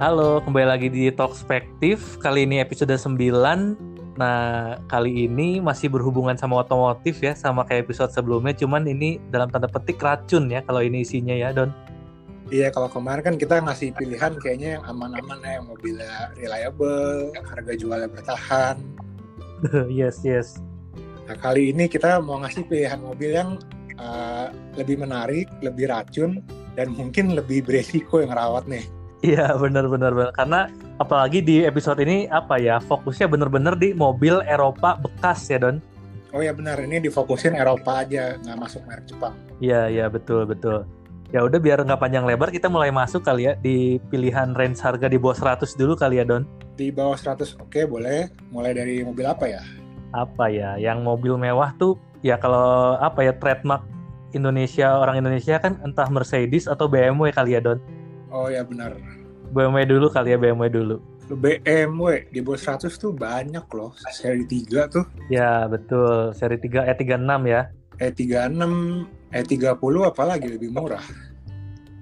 Halo, kembali lagi di Talkspektif. Kali ini episode 9. Nah, kali ini masih berhubungan sama otomotif ya, sama kayak episode sebelumnya. Cuman ini dalam tanda petik racun ya, kalau ini isinya ya, Don. Iya, kalau kemarin kan kita ngasih pilihan kayaknya yang aman-aman ya, yang mobilnya reliable, harga jualnya bertahan. yes, yes. Nah, kali ini kita mau ngasih pilihan mobil yang uh, lebih menarik, lebih racun, dan mungkin lebih beresiko yang rawat nih. Iya, benar-benar. Karena apalagi di episode ini apa ya, fokusnya benar-benar di mobil Eropa bekas ya, Don. Oh ya benar, ini difokusin Eropa aja, nggak masuk merek Jepang. Iya, iya, betul, betul. Ya udah biar nggak panjang lebar kita mulai masuk kali ya di pilihan range harga di bawah 100 dulu kali ya Don. Di bawah 100 oke boleh. Mulai dari mobil apa ya? Apa ya? Yang mobil mewah tuh ya kalau apa ya trademark Indonesia orang Indonesia kan entah Mercedes atau BMW kali ya Don. Oh ya benar. BMW dulu kali ya BMW dulu. BMW di bawah 100 tuh banyak loh. Seri 3 tuh. Ya betul. Seri 3 E36 ya. E E36 E30 apalagi lebih murah.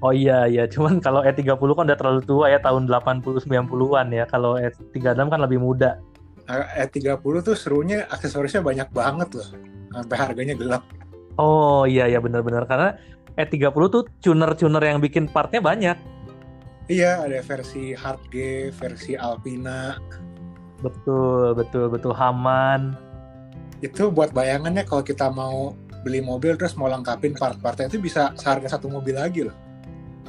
Oh iya iya, cuman kalau E30 kan udah terlalu tua ya tahun 80 90-an ya. Kalau E36 kan lebih muda. E30 E tuh serunya aksesorisnya banyak banget loh. Sampai harganya gelap. Oh iya iya benar-benar karena E30 tuh tuner-tuner yang bikin partnya banyak. Iya, ada versi Hardge, versi Alpina. Betul, betul, betul Haman. Itu buat bayangannya kalau kita mau beli mobil terus mau lengkapin part-partnya itu bisa seharga satu mobil lagi loh.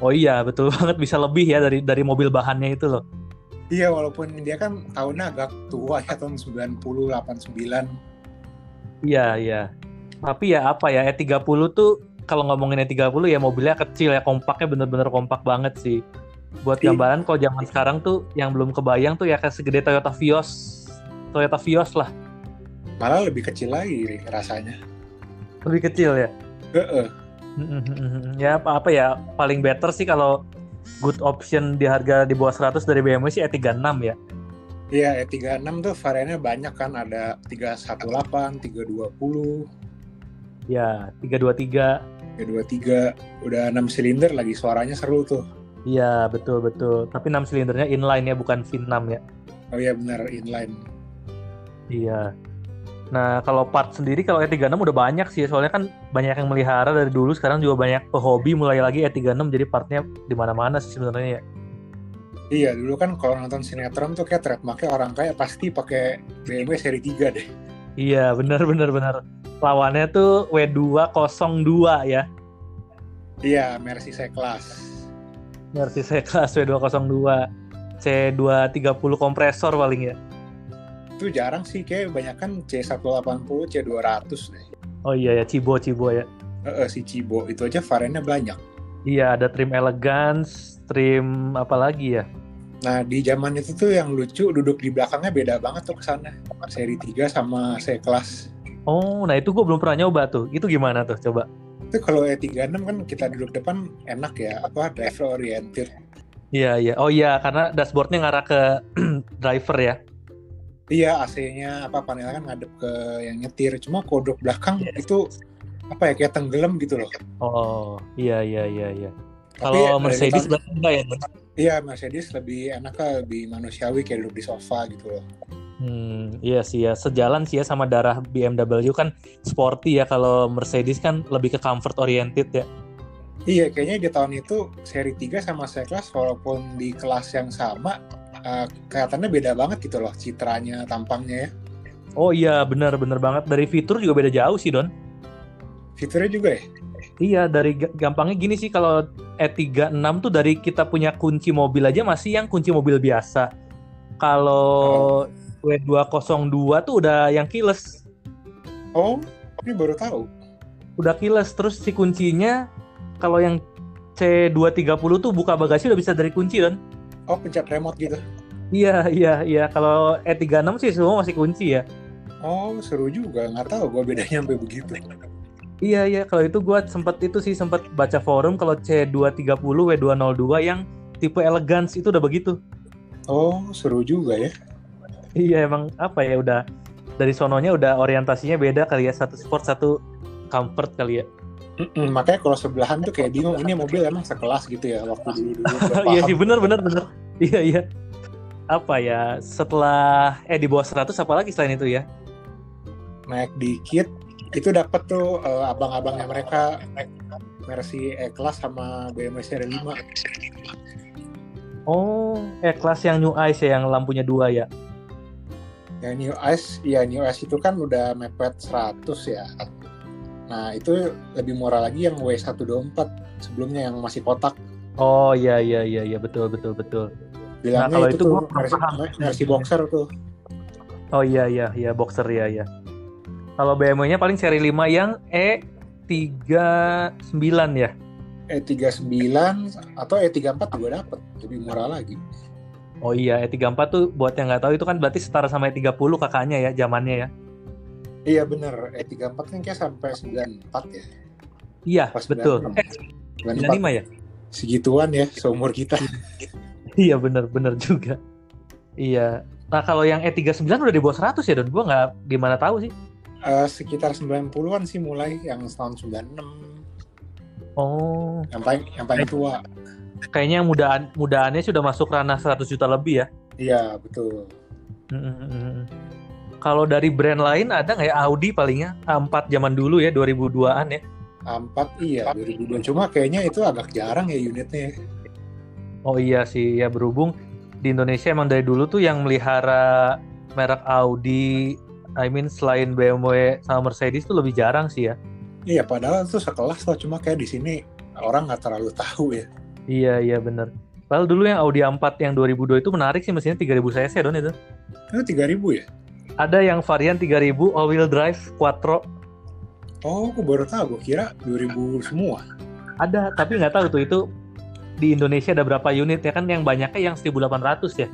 Oh iya, betul banget bisa lebih ya dari dari mobil bahannya itu loh. Iya, walaupun dia kan tahunnya agak tua ya tahun 90 89. Iya, iya. Tapi ya apa ya E30 tuh kalau ngomongin E30 ya mobilnya kecil ya kompaknya bener-bener kompak banget sih. Buat gambaran kalau zaman sekarang tuh yang belum kebayang tuh ya kayak segede Toyota Vios. Toyota Vios lah. Malah lebih kecil lagi rasanya lebih kecil ya. Uh-uh. Ya apa apa ya paling better sih kalau good option di harga di bawah 100 dari BMW sih E36 ya. Iya, E36 tuh variannya banyak kan ada 318, 320. Ya, 323. 323 udah 6 silinder lagi suaranya seru tuh. Iya, betul betul. Tapi 6 silindernya inline ya bukan V6 ya. Oh iya benar inline. Iya. Nah, kalau part sendiri kalau E E36 udah banyak sih, soalnya kan banyak yang melihara dari dulu, sekarang juga banyak pehobi mulai lagi E E36 jadi partnya di mana-mana sih sebenarnya ya. Iya, dulu kan kalau nonton sinetron tuh kayak trademarknya orang kaya pasti pakai BMW seri 3 deh. Iya, benar benar benar. Lawannya tuh W202 ya. Iya, Mercy C-Class. Mercy C-Class W202. C230 kompresor paling ya itu jarang sih kayak banyak kan C180, C200 deh. Oh iya ya Cibo Cibo ya. E -e, si Cibo itu aja variannya banyak. Iya ada trim elegance, trim apa lagi ya? Nah di zaman itu tuh yang lucu duduk di belakangnya beda banget tuh kesana seri 3 sama C kelas. Oh nah itu gue belum pernah nyoba tuh. Itu gimana tuh coba? Itu kalau E36 kan kita duduk depan enak ya apa driver oriented. Iya iya oh iya karena dashboardnya ngarah ke driver ya. Iya AC-nya apa panelnya kan ngadep ke yang nyetir. Cuma kodok belakang yes. itu apa ya kayak tenggelam gitu loh. Oh iya iya iya iya. Kalau Mercedes berarti enggak ya? Iya Mercedes lebih enaknya lebih manusiawi kayak duduk di sofa gitu loh. Hmm, iya sih ya sejalan sih ya sama darah BMW kan sporty ya kalau Mercedes kan lebih ke comfort oriented ya. Iya kayaknya di tahun itu seri 3 sama C-Class walaupun di kelas yang sama uh, kelihatannya beda banget gitu loh citranya, tampangnya ya. Oh iya, benar-benar banget. Dari fitur juga beda jauh sih, Don. Fiturnya juga ya? Iya, dari gampangnya gini sih kalau E36 tuh dari kita punya kunci mobil aja masih yang kunci mobil biasa. Kalau oh. W202 tuh udah yang keyless. Oh, ini baru tahu. Udah keyless terus si kuncinya kalau yang C230 tuh buka bagasi udah bisa dari kunci, Don. Oh, pencet remote gitu. Iya, iya, iya. Kalau E36 sih semua masih kunci ya. Oh, seru juga. Nggak tahu gue bedanya sampai begitu. Iya, iya. Kalau itu gue sempet itu sih sempet baca forum kalau C230 W202 yang tipe elegance itu udah begitu. Oh, seru juga ya. Iya, emang apa ya udah dari sononya udah orientasinya beda kali ya. Satu sport, satu comfort kali ya. Mm-mm, makanya kalau sebelahan tuh kayak bingung ini mobil emang sekelas gitu ya waktu dulu dulu. Iya sih benar benar benar. Iya iya. Apa ya? Setelah eh di bawah 100 apalagi selain itu ya? naik dikit itu dapat tuh eh, abang-abangnya mereka Mercy E-Class sama BMW seri 5 Oh, eh kelas yang New Ice ya, yang lampunya dua ya. yang New Ice ya New Ice itu kan udah mepet 100 ya nah itu lebih murah lagi yang W124 sebelumnya yang masih kotak Oh iya iya iya iya betul betul betul. bilangnya Nah, kalau itu itu, tuh gua kurang Mercy, paham. Mercy Boxer tuh Oh iya iya iya boxer ya ya. Kalau BMW-nya paling seri 5 yang E39 ya. E39 E atau E34 juga dapat lebih murah lagi Oh iya, E34 tuh buat yang nggak tahu itu kan berarti setara sama E30 kakaknya ya, zamannya ya. iya bener E34 kan kayak sampai 94 ya Iya, Pas betul. 96. Eh, 95 94 ya? segituan ya seumur kita Iya, bener-bener juga. Iya. Nah, kalau yang E39 udah di bawah 100 ya, Don? Gua nggak gimana tahu sih. Eh, sekitar 90-an sih mulai yang tahun 96 Oh, yang paling yang paling tua kayaknya yang mudaan mudaannya sudah masuk ranah 100 juta lebih ya. iya betul Mm-mm-mm. Kalau dari brand lain ada nggak ya Audi palingnya A4 zaman dulu ya 2002-an ya. A4 iya 2002 cuma kayaknya itu agak jarang ya unitnya Oh iya sih ya berhubung di Indonesia emang dari dulu tuh yang melihara merek Audi I mean selain BMW sama Mercedes tuh lebih jarang sih ya. iya padahal itu sekelas lah cuma kayak di sini orang nggak terlalu tahu ya Iya iya bener. Lalu dulu yang Audi A4 yang 2002 itu menarik sih mesinnya 3000 cc don itu. itu 3000 ya Ada yang varian 3000 all wheel drive quattro oh aku baru tahu gue kira 2000 semua ada tapi nggak tahu tuh itu di Indonesia ada berapa unit ya kan yang banyaknya yang 1800 ya.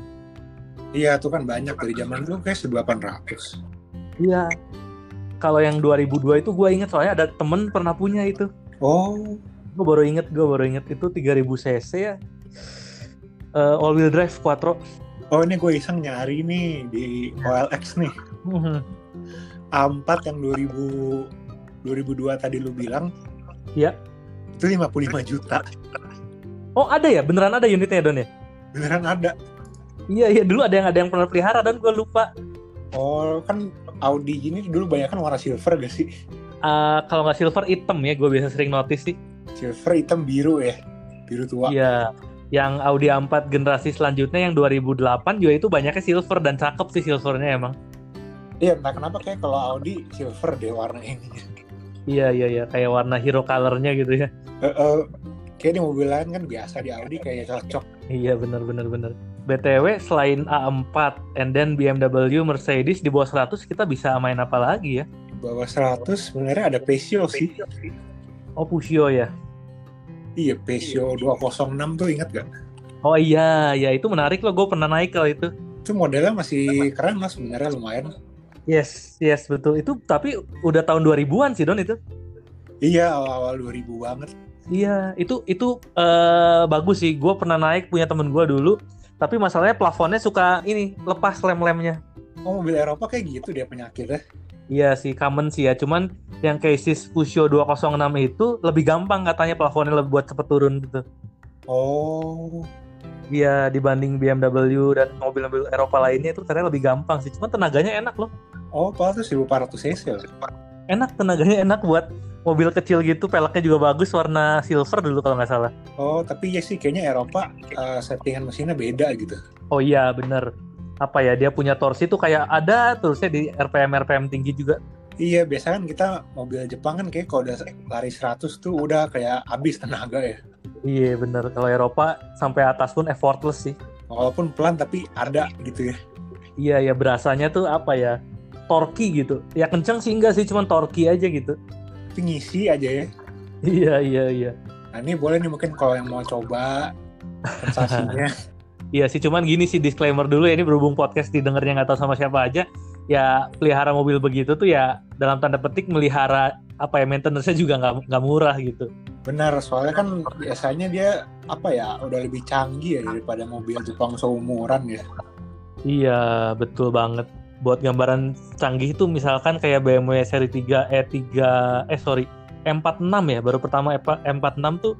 iya tuh kan banyak dari zaman dulu kayak 1800 Iya. Kalau yang 2002 itu gue inget soalnya ada temen pernah punya itu. oh Gue baru inget, gue baru inget itu 3000 cc ya. Eh, all wheel drive quattro. oh ini gue iseng nyari nih di OLX nih A4 yang 2000 2002 tadi lu bilang Iya. itu 55 juta oh ada ya, beneran ada unitnya Don ya? beneran ada Iya iya dulu ada yang ada yang pernah pelihara dan gue lupa. Oh, kan Audi ini dulu banyak kan warna silver gak sih? Eh, kalau nggak silver hitam ya, gue biasa sering notice sih. Silver, hitam, biru ya. Biru tua. Iya. Yang Audi A4 generasi selanjutnya yang 2008 juga itu banyaknya silver dan cakep sih silvernya emang. Iya, entah kenapa kayak kalau Audi silver deh warna ini. Iya iya iya kayak warna hero colornya gitu ya. Eh, eh, kayak di mobil lain kan biasa di Audi kayak cocok. Iya benar benar benar. BTW selain A4 and then BMW, Mercedes di bawah 100 kita bisa main apa lagi ya? Bawah 100 sebenarnya ada Peugeot sih. Iya Oh Pusio ya. Iya, Peugeot 206 tuh ingat gak? Oh iya, ya itu menarik loh. Gue pernah naik kalau itu. Itu modelnya masih keren lah sebenarnya lumayan. Yes, yes betul. Itu tapi udah tahun 2000-an sih Don itu. Iya, awal-awal 2000 banget. Iya, itu itu eh, bagus sih. Gue pernah naik punya temen gue dulu. Tapi masalahnya plafonnya suka ini lepas lem-lemnya. Oh, mobil Eropa kayak gitu dia penyakitnya. Iya sih, common sih ya. Cuman yang cases Pusio 206 itu lebih gampang katanya plafonnya lebih buat cepet turun gitu. Oh, Iya dibanding BMW dan mobil-mobil Eropa lainnya itu ternyata lebih gampang sih. Cuman tenaganya enak loh. oh, padahal tuh 1400 cc lah. Enak tenaganya enak buat mobil kecil gitu. Peleknya juga bagus warna silver dulu kalau nggak salah. Oh, tapi ya sih kayaknya Eropa eh, settingan mesinnya beda gitu. Oh iya bener. Apa ya dia punya torsi tuh kayak ada terusnya di RPM RPM tinggi juga. Iya, biasanya kan kita mobil Jepang kan kayak kalau udah lari 100 tuh udah kayak habis tenaga ya. Iya bener. Kalau Eropa sampai atas pun effortless sih. Walaupun pelan tapi ada gitu ya. Iya ya berasanya tuh apa ya? Torki gitu. Ya kenceng sih enggak sih, cuman torki aja gitu. Tapi ngisi aja ya. Iya iya iya. Nah, ini boleh nih mungkin kalau yang mau coba sensasinya. Iya sih, cuman gini sih disclaimer dulu ya, ini berhubung podcast didengarnya nggak tahu sama siapa aja, ya pelihara mobil begitu tuh ya dalam tanda petik melihara apa ya maintenance-nya juga nggak nggak murah gitu. Benar, soalnya kan biasanya dia apa ya, udah lebih canggih ya daripada mobil Jepang seumuran ya. Iya, betul banget. Buat gambaran canggih itu misalkan kayak BMW seri 3 E3 eh sorry, E M46 ya, baru pertama E4- M46 tuh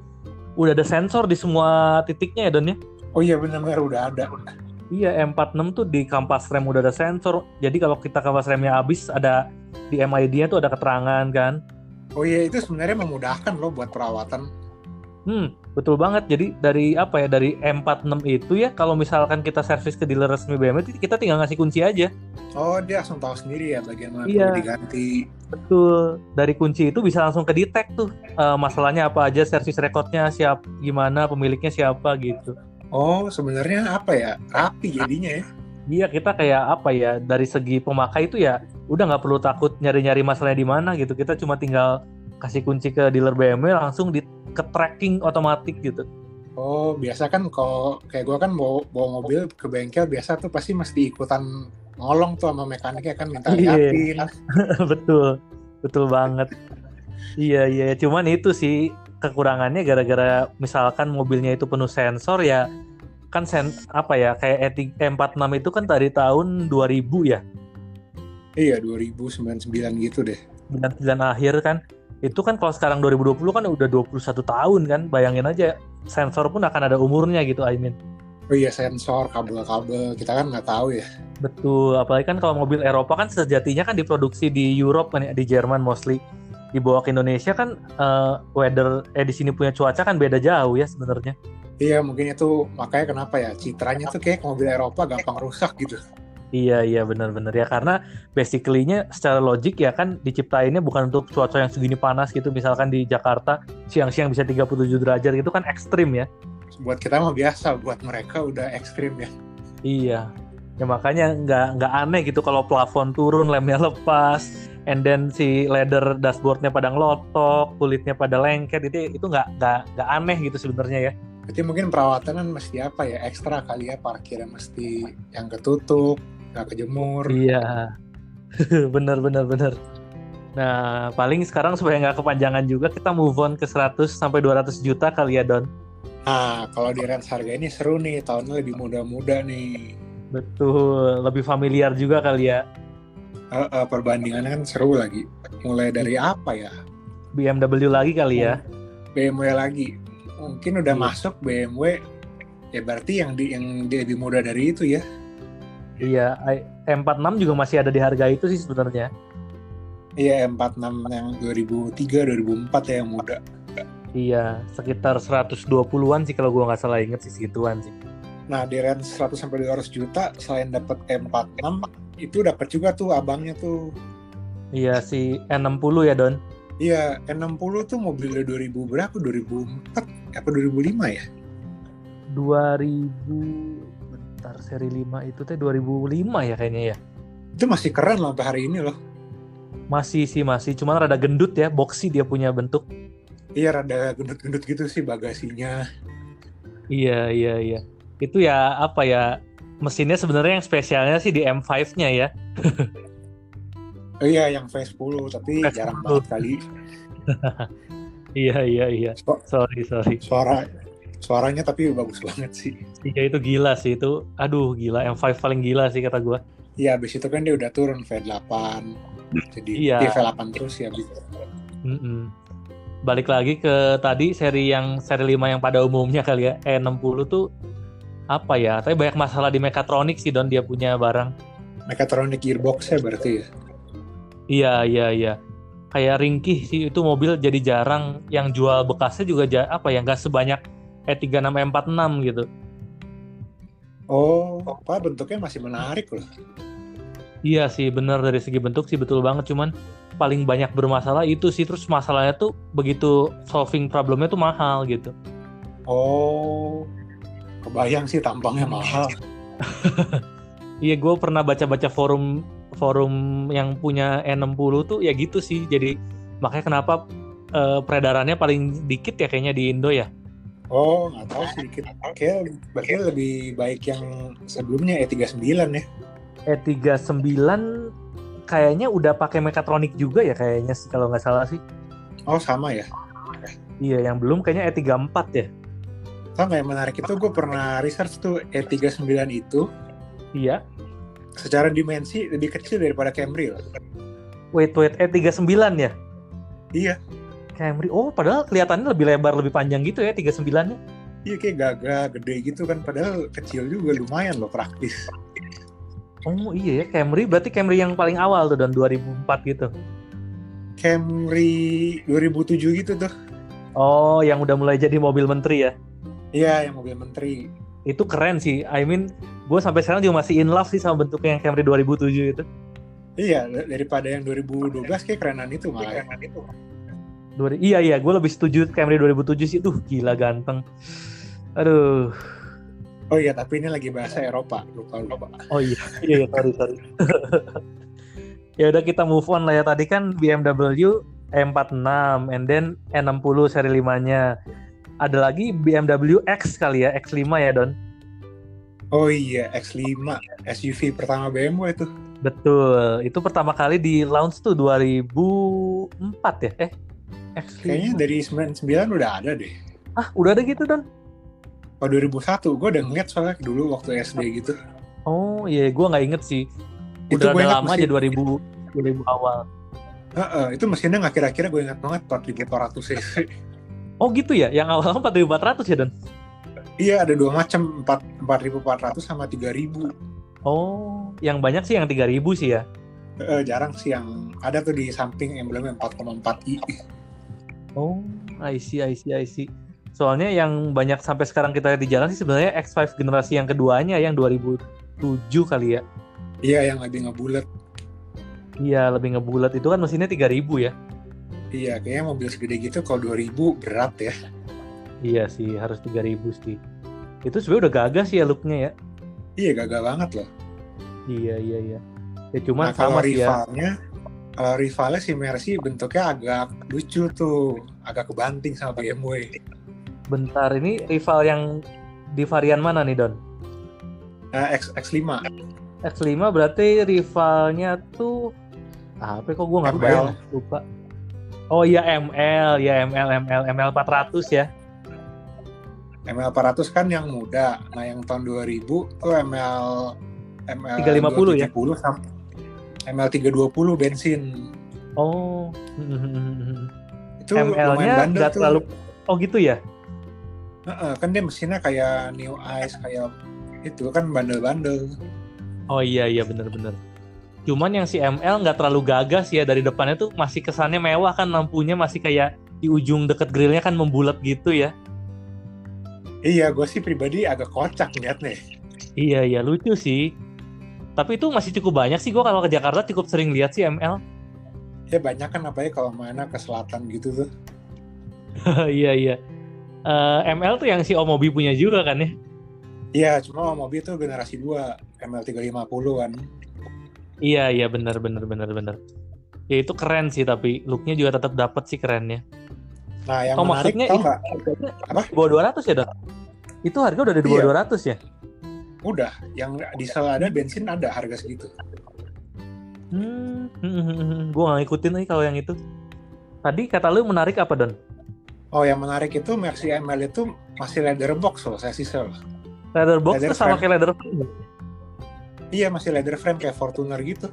udah ada sensor di semua titiknya ya Don ya. Oh iya benar-benar udah ada. Iya, M46 tuh di kampas rem udah ada sensor. Jadi kalau kita kampas remnya habis ada di MID-nya tuh ada keterangan kan. Oh iya itu sebenarnya memudahkan loh buat perawatan. Hmm, betul banget. Jadi dari apa ya dari M46 itu ya kalau misalkan kita servis ke dealer resmi BMW kita tinggal ngasih kunci aja. Oh dia langsung tahu sendiri ya bagian mana Iya. perlu diganti. Betul. Dari kunci itu bisa langsung ke detect tuh eh, masalahnya apa aja, servis rekodnya siap gimana, pemiliknya siapa gitu. Oh sebenarnya apa ya rapi jadinya ya. Iya kita kayak apa ya dari segi pemakai itu ya udah nggak perlu takut nyari-nyari masalahnya di mana gitu kita cuma tinggal kasih kunci ke dealer BMW langsung di ke tracking otomatis gitu. Oh biasa kan kalau kayak gua kan bawa, bawa mobil ke bengkel biasa tuh pasti mesti ikutan ngolong tuh sama mekaniknya kan minta Iya. liatin. betul betul banget. iya iya cuman itu sih kekurangannya gara-gara misalkan mobilnya itu penuh sensor ya kan sen apa ya kayak E3 E46 itu kan dari tahun 2000 ya Iya 2099 gitu deh. 99 akhir kan itu kan kalau sekarang 2020 kan udah 21 tahun kan bayangin aja sensor pun akan ada umurnya gitu I mean Oh iya sensor kabel-kabel kita kan nggak tahu ya. betul apalagi kan kalau mobil Eropa kan sejatinya kan diproduksi di Europe kan ya, di Jerman mostly dibawa ke Indonesia kan eh, weather eh di sini punya cuaca kan beda jauh ya sebenarnya Iya mungkin itu makanya kenapa ya citranya tuh kayak mobil Eropa gampang rusak gitu. Iya iya benar-benar ya karena basically-nya secara logik ya kan diciptainnya bukan untuk cuaca yang segini panas gitu misalkan di Jakarta siang-siang bisa 37 derajat gitu kan ekstrim ya. Buat kita mah biasa, buat mereka udah ekstrim ya. Iya. Ya makanya nggak nggak aneh gitu kalau plafon turun lemnya lepas and then si leather dashboardnya pada ngelotok kulitnya pada lengket itu itu nggak nggak nggak aneh gitu sebenarnya ya. Berarti mungkin perawatan kan mesti apa ya ekstra kali ya parkirnya mesti yang ketutup, nggak kejemur. Iya, bener bener bener. Nah, paling sekarang supaya nggak kepanjangan juga kita move on ke 100 sampai 200 juta kali ya Don. Nah kalau di range harga ini seru nih, tahunnya lebih muda-muda nih. Betul, lebih familiar juga kali ya. Eh, eh, perbandingannya kan seru lagi. Mulai dari apa ya? BMW lagi kali ya. BMW lagi. Mungkin udah Iya. masuk BMW. Ya berarti yang di yang di lebih muda dari itu ya. Iya, I- M46 juga masih ada di harga itu sih sebenarnya. Iya 46 yang 2003 2004 ya yang muda. Iya, sekitar 120-an sih kalau gua nggak salah inget sih segituan sih. Nah, di range 100 sampai 200 juta selain dapat M46 itu dapat juga tuh abangnya tuh. Iya, si N60 ya Don. Iya, N60 tuh mobil dari 2000 berapa? 2004 apa 2005 ya? 2000 bentar seri 5 itu teh 2005 ya kayaknya ya. Itu masih keren loh sampai hari ini loh. Masih sih masih, cuman rada gendut ya, boxy dia punya bentuk. Iya, rada gendut-gendut gitu sih bagasinya. Iya, iya, iya. Itu ya apa ya? Mesinnya sebenarnya yang spesialnya sih di M5-nya ya. Oh, iya, yang V10 tapi V10. jarang banget kali. Iya, iya, iya. So- Sorry, sorry. Suara suaranya tapi bagus banget sih. Iya itu gila sih itu. Aduh, gila M5 paling gila sih kata gua. Iya, abis itu kan dia udah turun V8. Jadi Iya. dia V8 terus ya. abis itu. Mm-mm. Balik lagi ke tadi seri yang seri 5 yang pada umumnya kali ya. E60 tuh apa ya? Tapi banyak masalah di mekatronik sih Don dia punya barang. Mechatronic gearbox-nya berarti ya. Iya, iya, iya. Kayak ringkih sih itu mobil jadi jarang yang jual bekasnya juga ja- apa ya nggak sebanyak E36 M46 gitu. Oh, apa bentuknya masih menarik loh. Iya sih benar dari segi bentuk sih betul banget cuman paling banyak bermasalah itu sih terus masalahnya tuh begitu solving problemnya tuh mahal gitu. Oh, kebayang sih tampangnya mahal. Iya gue pernah baca-baca forum forum yang punya E60 tuh ya gitu sih jadi makanya kenapa eh, peredarannya paling dikit ya kayaknya di Indo ya. Oh, nggak tahu sedikit. Oke, berarti lebih baik yang sebelumnya E39 ya. E39 E kayaknya udah pakai mekatronik juga ya kayaknya sih kalau nggak salah sih. Oh, sama ya. Iya yang belum kayaknya E34 ya. Sama yang menarik itu gue pernah research tuh E E39 itu Iya. secara dimensi lebih kecil daripada Camry loh. Wait wait E39 ya. Iya. E Camry. Oh, padahal kelihatannya lebih lebar, lebih panjang gitu ya 39-nya. Iya kayak gagah gede gitu kan padahal kecil juga lumayan loh praktis. Oh iya ya Camry berarti Camry yang paling awal tuh tahun 2004 gitu. Camry 2007 gitu tuh. Oh yang udah mulai jadi mobil menteri ya. Iya yang mobil menteri. Itu keren sih. I mean gue sampai sekarang juga masih in love sih sama bentuknya yang Camry 2007 itu. Iya dar- daripada yang 2012 kayak kerenan itu malah. Kerenan itu. Dua, iya iya gue lebih setuju Camry 2007 sih. Duh gila ganteng. Aduh. Oh iya tapi ini lagi bahasa Eropa lupa lupa. Oh iya, iya, iya sorry, sorry. ya udah kita move on lah ya. Tadi kan BMW E46 and then E60 seri 5-nya. Ada lagi BMW X kali ya, X5 ya, Don. Oh iya X5 SUV pertama BMW itu. Betul. Itu pertama kali di launch tuh 2004 ya? Eh, X5. Kayaknya dari 99 udah ada deh. Ah, udah ada gitu, Don. Oh 2001 gue udah ngeliat soalnya dulu waktu SD gitu. Oh iya, gue nggak inget sih. Itu Udah gue ingat ada lama aja mesin- 2000 2000 awal. Heeh, itu mesinnya nggak kira-kira gue ingat banget 4400 cc. Oh gitu ya, yang awal 4400 ya Don? iya ada dua macam 4 4400 sama 3000. Oh, yang banyak sih yang 3000 sih ya. Heeh, jarang sih yang ada tuh di samping emblemnya 4,4i. Oh, I see, I see, I see. Soalnya yang banyak sampai sekarang kita lihat di jalan sih sebenarnya X5 generasi yang keduanya yang 2007 kali ya. Iya yang lebih ngebulet. Iya, lebih ngebulat itu kan mesinnya 3000 ya. Iya kayaknya mobil segede gitu kalau 2000 berat ya. Iya sih, harus 3000 sih. Itu sebenarnya udah gagah sih ya look-nya ya. Iya gagal banget loh. Iya, iya, iya. Ya cuman nah kalau sama sih ya. rivalnya, kalau rivalnya si Mercy bentuknya agak lucu tuh, agak kebanting sama BMW. Bentar, ini rival yang di varian mana nih Don? Nah, X X5, X5 berarti rivalnya tuh apa ya, kok gue nggak ML. kebayang lupa oh iya ML ya ML ML ML 400 ya ML400 kan yang muda. Nah, yang tahun 2000 tuh ML ML 350 ya? 270 sama ML 320 bensin. oh Itu lumayan ML-nya bandel nggak tuh. terlalu oh gitu ya Heeh, kan dia mesinnya kayak New Ice kayak itu kan bandel-bandel. oh iya iya bener-bener cuman yang si ML nggak terlalu gagah sih ya dari depannya tuh masih kesannya mewah kan lampunya masih kayak di ujung deket grillnya kan membulat gitu ya Iya, gue sih pribadi agak kocak liatnya. iya iya lucu sih tapi itu masih cukup banyak sih gue kalau ke Jakarta cukup sering lihat sih ML Ya banyak kan apa ya kalau mana ke selatan gitu tuh. Iya iya. Eh, ML tuh yang si Omobi punya juga kan ya? Iya, cuma mobil itu generasi 2, ML350 kan. Iya iya benar benar benar benar. Ya itu keren sih tapi looknya juga tetap dapat sih kerennya. Nah, yang Oh, menarik maksudnya tau i- nggak? Di bawah 200 ya dok? Itu harga udah di bawah 200 ya? Udah, yang diesel ada, bensin ada harga segitu. Hmm, gua nggak ngikutin nih kalau yang itu. Tadi kata lu menarik apa Don? Oh, yang menarik itu Mercy ML itu masih leather box loh, sasisnya loh. Leather box Leather tuh sama frame. kayak leather frame. Iya, masih leather frame kayak Fortuner gitu.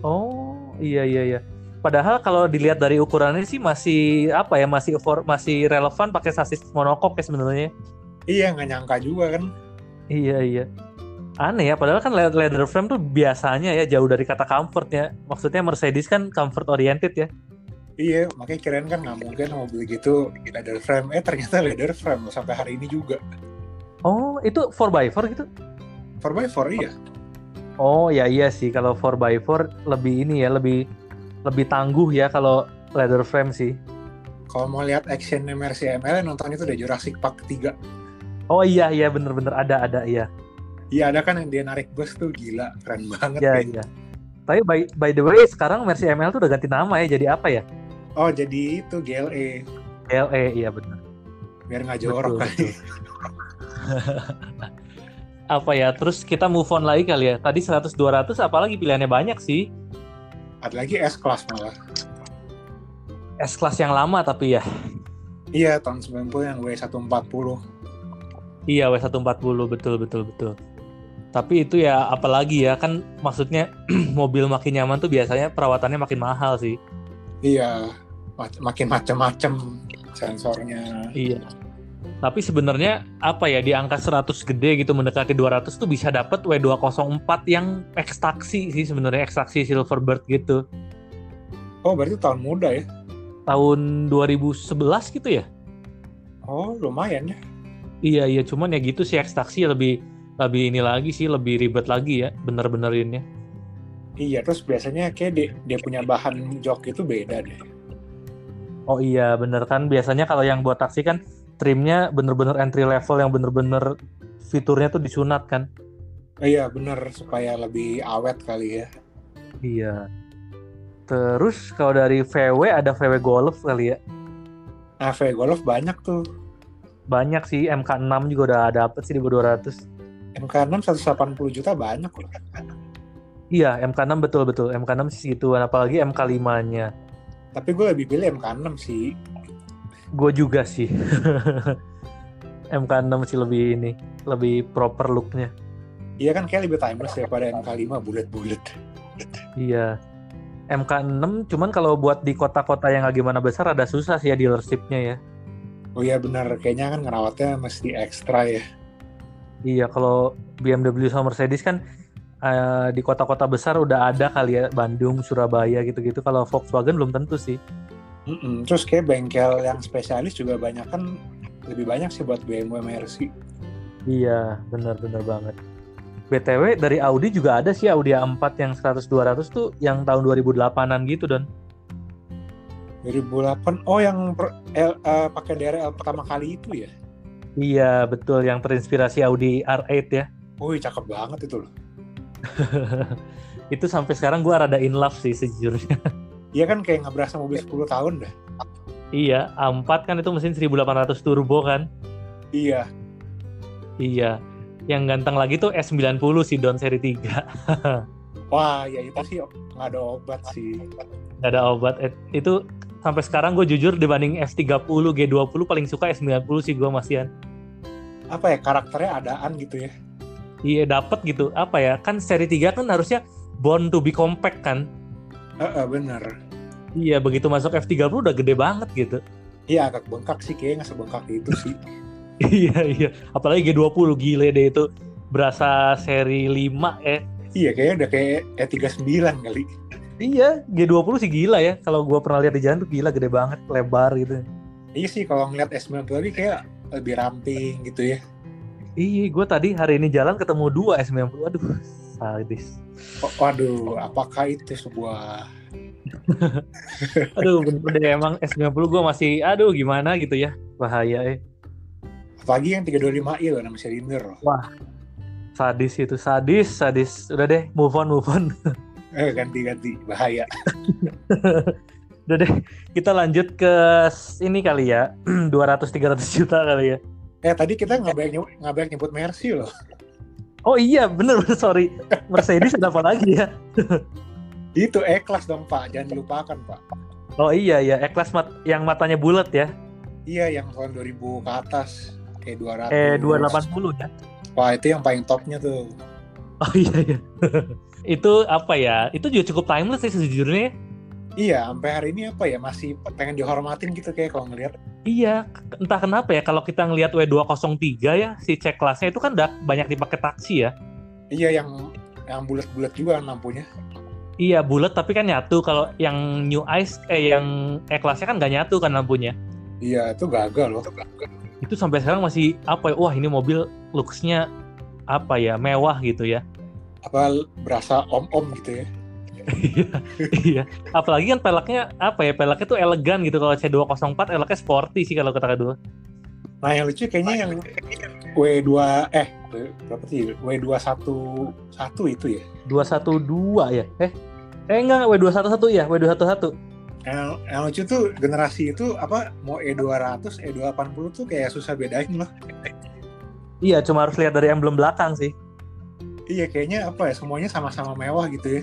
Oh iya iya iya. Padahal kalau dilihat dari ukurannya sih masih apa ya masih for- masih relevan pakai sasis monokok ya sebenarnya. Iya, nggak nyangka juga kan. Iya iya. Aneh ya, padahal kan le- leather frame tuh biasanya ya jauh dari kata comfort ya. Maksudnya Mercedes kan comfort oriented ya. Iya, makanya kirain kan nggak mungkin mobil gitu leather frame. Eh, ternyata leather frame loh, sampai hari ini juga. Oh, itu 4x4 gitu? 4x4 iya. Oh, ya iya sih kalau 4x4 lebih ini ya, lebih lebih tangguh ya kalau leather frame sih. Kalau mau lihat action Mercy ML, nonton itu udah Jurassic Park 3. Oh iya iya bener-bener ada ada iya. Iya, ada kan yang dia narik bus tuh, gila. Keren banget. Iya ya. iya. Tapi by, by the way sekarang Mercy ML tuh udah ganti nama ya jadi apa ya? Oh, jadi itu GLE. LE iya bener. Biar nggak Betul, jorok betul. kali. apa ya? Terus kita move on lagi kali ya. Tadi 100 200 apalagi pilihannya banyak sih. Ada lagi S-Class malah. S kelas yang lama tapi ya. Iya, tahun 90 yang W140. Iya W140 betul betul betul. Tapi itu ya apalagi ya kan maksudnya mobil makin nyaman tuh biasanya perawatannya makin mahal sih. Iya, mac- makin macam-macam sensornya. Iya. Tapi sebenarnya apa ya di angka 100 gede gitu mendekati 200 tuh bisa dapet W204 yang ekstaksi sih sebenarnya ekstaksi Silverbird gitu. Oh, berarti tahun muda ya? Tahun 2011 gitu ya? Oh, lumayan ya. Iya iya cuman ya gitu sih ekstaksi lebih lebih ini lagi sih lebih ribet lagi ya bener-benerinnya. Iya, terus biasanya kayak dia, dia punya bahan jok itu beda deh. Oh iya bener kan biasanya kalau yang buat taksi kan trimnya bener-bener entry level yang bener-bener fiturnya tuh disunat kan? Iya bener supaya lebih awet kali ya. Iya. Terus kalau dari VW ada VW Golf kali ya? Nah VW Golf banyak tuh. Banyak sih MK6 juga udah dapet sih di 200. MK6 180 juta banyak loh. Iya MK6 betul betul MK6 sih segituan apalagi MK5-nya. Tapi gue lebih pilih MK6 sih. gue juga sih MK6 sih lebih ini lebih proper looknya Iya kan kayak lebih timeless daripada MK5 bulat-bulat. iya MK6 cuman kalau buat di kota-kota yang nggak gimana besar ada susah sih ya dealershipnya ya Oh iya benar, kayaknya kan ngerawatnya mesti ekstra ya. iya kalau BMW sama Mercedes kan eh, di kota-kota besar udah ada kali ya Bandung Surabaya gitu-gitu kalau Volkswagen belum tentu sih Mm-mm. Terus kayak bengkel yang spesialis juga banyak kan lebih banyak sih buat BMW Mercy. Iya, benar-benar banget. BTW dari Audi juga ada sih Audi A4 yang 100 200 tuh yang tahun 2008-an gitu, Don. 2008, oh yang per- L- eh, pakai DRL pertama kali itu ya? Iya, betul yang terinspirasi Audi R8 ya. Wih cakep banget itu loh. Itu sampai sekarang gua rada in love sih sejujurnya. Iya kan kayak nggak berasa mobil 10 tahun dah. iya, A4 kan itu mesin 1800 turbo kan. Iya, Iya. Yang ganteng lagi tuh S90 sih Don seri 3. wah ya itu sih nggak ada obat sih. Gak ada obat. Eh, Itu sampai sekarang gue jujur dibanding S30 G20 paling suka S90 sih gue masihan. Apa ya, karakternya adaan gitu ya. Iya dapat gitu apa ya kan seri 3 kan harusnya born to be compact kan Eh eh, bener. iya begitu masuk F30 udah gede banget gitu Iya agak bengkak sih, kayaknya nggak sebengkak itu sih. iya iya apalagi G20 gile deh itu berasa seri 5 eh Iya kayaknya udah kayak E39 kali. iya G20 sih gila ya kalau gua pernah lihat di jalan tuh gila gede banget lebar gitu Iya sih kalau ngeliat S90 tadi kayak lebih ramping gitu ya. iya gue tadi hari ini jalan ketemu dua S90 aduh sadis Oh, waduh, apakah itu sebuah aduh bener deh emang S90 gue masih aduh gimana gitu ya bahaya eh apalagi yang 325i loh nama silinder loh. sadis itu sadis sadis udah deh move on move on Eh ganti-ganti bahaya. Udah deh, kita lanjut ke s- ini kali ya. 200-300 juta kali ya. Eh tadi kita nggak banyak nyebut, nggak banyak nyebut Mercy loh. Oh iya, bener, bener, sorry. Mercedes ada apa lagi ya? Itu E kelas dong Pak, jangan dilupakan Pak. Oh iya, ya E-Class mat yang matanya bulat ya. Iya yang tahun 2000 ke atas. E 200. Eh, 280 ya. Wah itu yang paling topnya tuh. Oh iya, iya. itu apa ya? Itu juga cukup timeless sih sejujurnya. Iya, sampai hari ini apa ya masih pengen dihormatin gitu kayak kalau ngelihat. Iya, k- entah kenapa ya kalau kita ngelihat W203 ya, si C kelasnya itu kan da- banyak dipakai taksi ya. Iya yang yang bulat-bulat juga kan lampunya. Iya, bulat tapi kan nyatu. Kalau yang New Ice eh yang E-Classnya kan nggak nyatu kan lampunya. Iya itu gagal loh. itu sampai sekarang masih apa ya wah ini mobil looksnya apa ya mewah gitu ya Apa berasa om-om gitu ya. iya apalagi kan peleknya apa ya peleknya tuh elegan gitu kalau C204 peleknya sporty sih kalau kata kedua Nah yang lucu kayaknya yang W2 eh berapa sih W211 itu ya. 212 ya eh eh enggak W211 ya W211 Yang, yang lucu tuh generasi itu apa mau E E200, E280 tuh kayak susah bedain loh. iya cuma harus lihat dari emblem belakang sih Iya kayaknya apa ya semuanya sama-sama mewah gitu ya.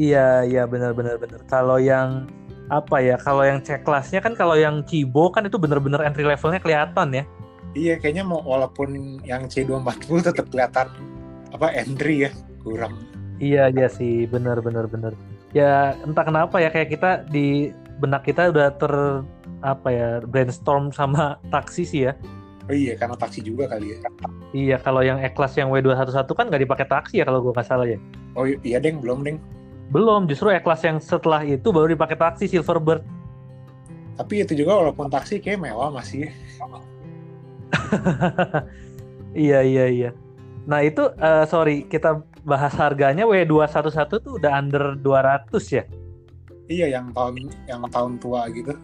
iya iya benar benar benar kalau yang apa ya kalau yang C kelasnya kan kalau yang Cibo kan itu bener-bener entry levelnya kelihatan ya Iya kayaknya mau walaupun yang C240 tetap kelihatan apa entry ya kurang. Iya iya sih benar benar benar. Ya entah kenapa ya kayak kita di benak kita udah ter apa ya brainstorm sama taksi sih ya. Oh iya, karena taksi juga kali ya. Iya, kalau yang E-Class yang W211 kan nggak dipakai taksi ya kalau gue nggak salah ya. Oh i- iya, Deng, belum, Deng. Belum, justru E-Class yang setelah itu baru dipakai taksi Silverbird. Tapi itu juga walaupun taksi kayak mewah masih. Iya, iya, iya. Nah itu, eh, sorry, kita bahas harganya W211 tuh udah under 200 ya? Iya, yang tahun yang tahun tua gitu.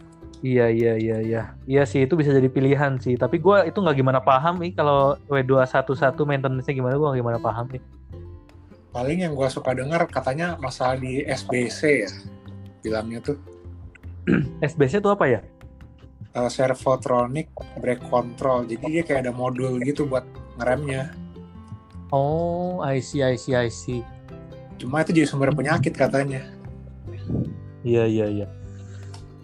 Iya, iya, iya, iya. Iya sih, itu bisa jadi pilihan sih. Tapi gua itu nggak gimana paham nih kalau W211 maintenance-nya gimana, gua nggak gimana paham nih. Paling yang gua suka dengar katanya masalah di SBC ya. Bilangnya tuh SBC itu apa ya? eh, servotronic brake control. Jadi dia kayak ada modul gitu buat ngeremnya. Oh, I see, I see, I see. Cuma itu jadi sumber penyakit katanya. Iya, iya, iya.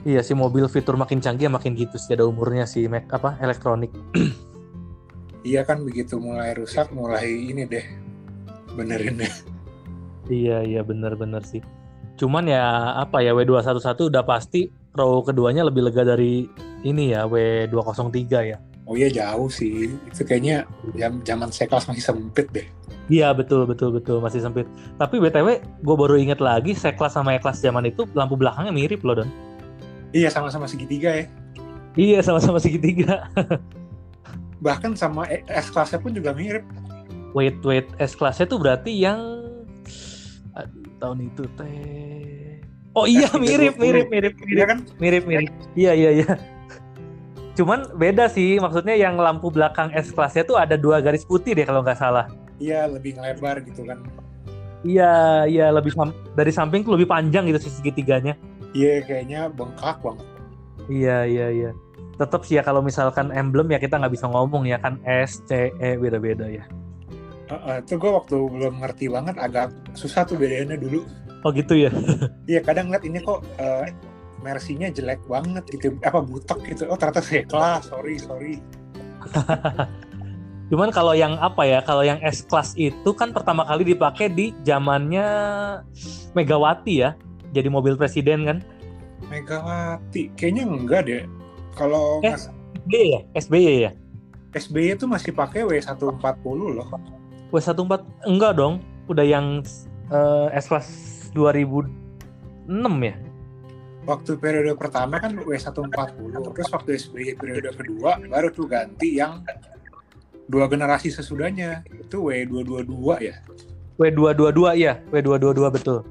Iya sih, mobil fitur makin canggih makin gitu sih, ada umurnya sih, mek, apa, elektronik. Iya kan begitu mulai rusak, mulai ini deh. Benerin deh. Iya, iya benar-benar sih. Cuman ya apa ya W211 udah pasti row keduanya lebih lega dari ini ya W203 ya. Oh iya jauh sih. Itu kayaknya jam zaman sekelas masih sempit deh. Iya betul betul betul masih sempit. Tapi btw gue baru inget lagi C-Class sama E-Class zaman itu lampu belakangnya mirip loh Don. Iya sama-sama segitiga ya. Iya sama-sama segitiga. Bahkan sama E- S-kelasnya pun juga mirip. Wait wait S-Classnya tuh berarti yang Aduh, tahun itu teh. Oh iya S320. mirip mirip mirip mirip. Iya kan? mirip mirip iya iya iya cuman beda sih maksudnya yang lampu belakang S kelasnya tuh ada dua garis putih deh kalau nggak salah Iya lebih ngelebar gitu kan. iya iya lebih sam- dari samping tuh lebih panjang gitu sih segitiganya Iya kayaknya bengkak banget. iya iya iya tetap sih ya kalau misalkan emblem ya kita nggak bisa ngomong ya kan S C E beda beda ya Heeh, itu gue waktu belum ngerti banget agak susah tuh bedainnya dulu. oh gitu ya Iya kadang ngeliat ini kok eh mersinya jelek banget gitu. Apa butek gitu. Oh ternyata sekelas. Sorry sorry. cuman kalau yang apa ya kalau yang S kelas itu kan pertama kali dipakai di zamannya Megawati ya jadi mobil presiden kan Megawati. Kayaknya enggak deh. Kalau Eh. nggak- SBY ya SBY ya SBY itu masih pakai W140 loh. W14 enggak dong, udah yang eh, S kelas 2006 ya. waktu periode pertama kan W140 terus waktu SBY periode kedua baru tuh ganti yang dua generasi sesudahnya itu W222 ya W222 ya, W222 betul.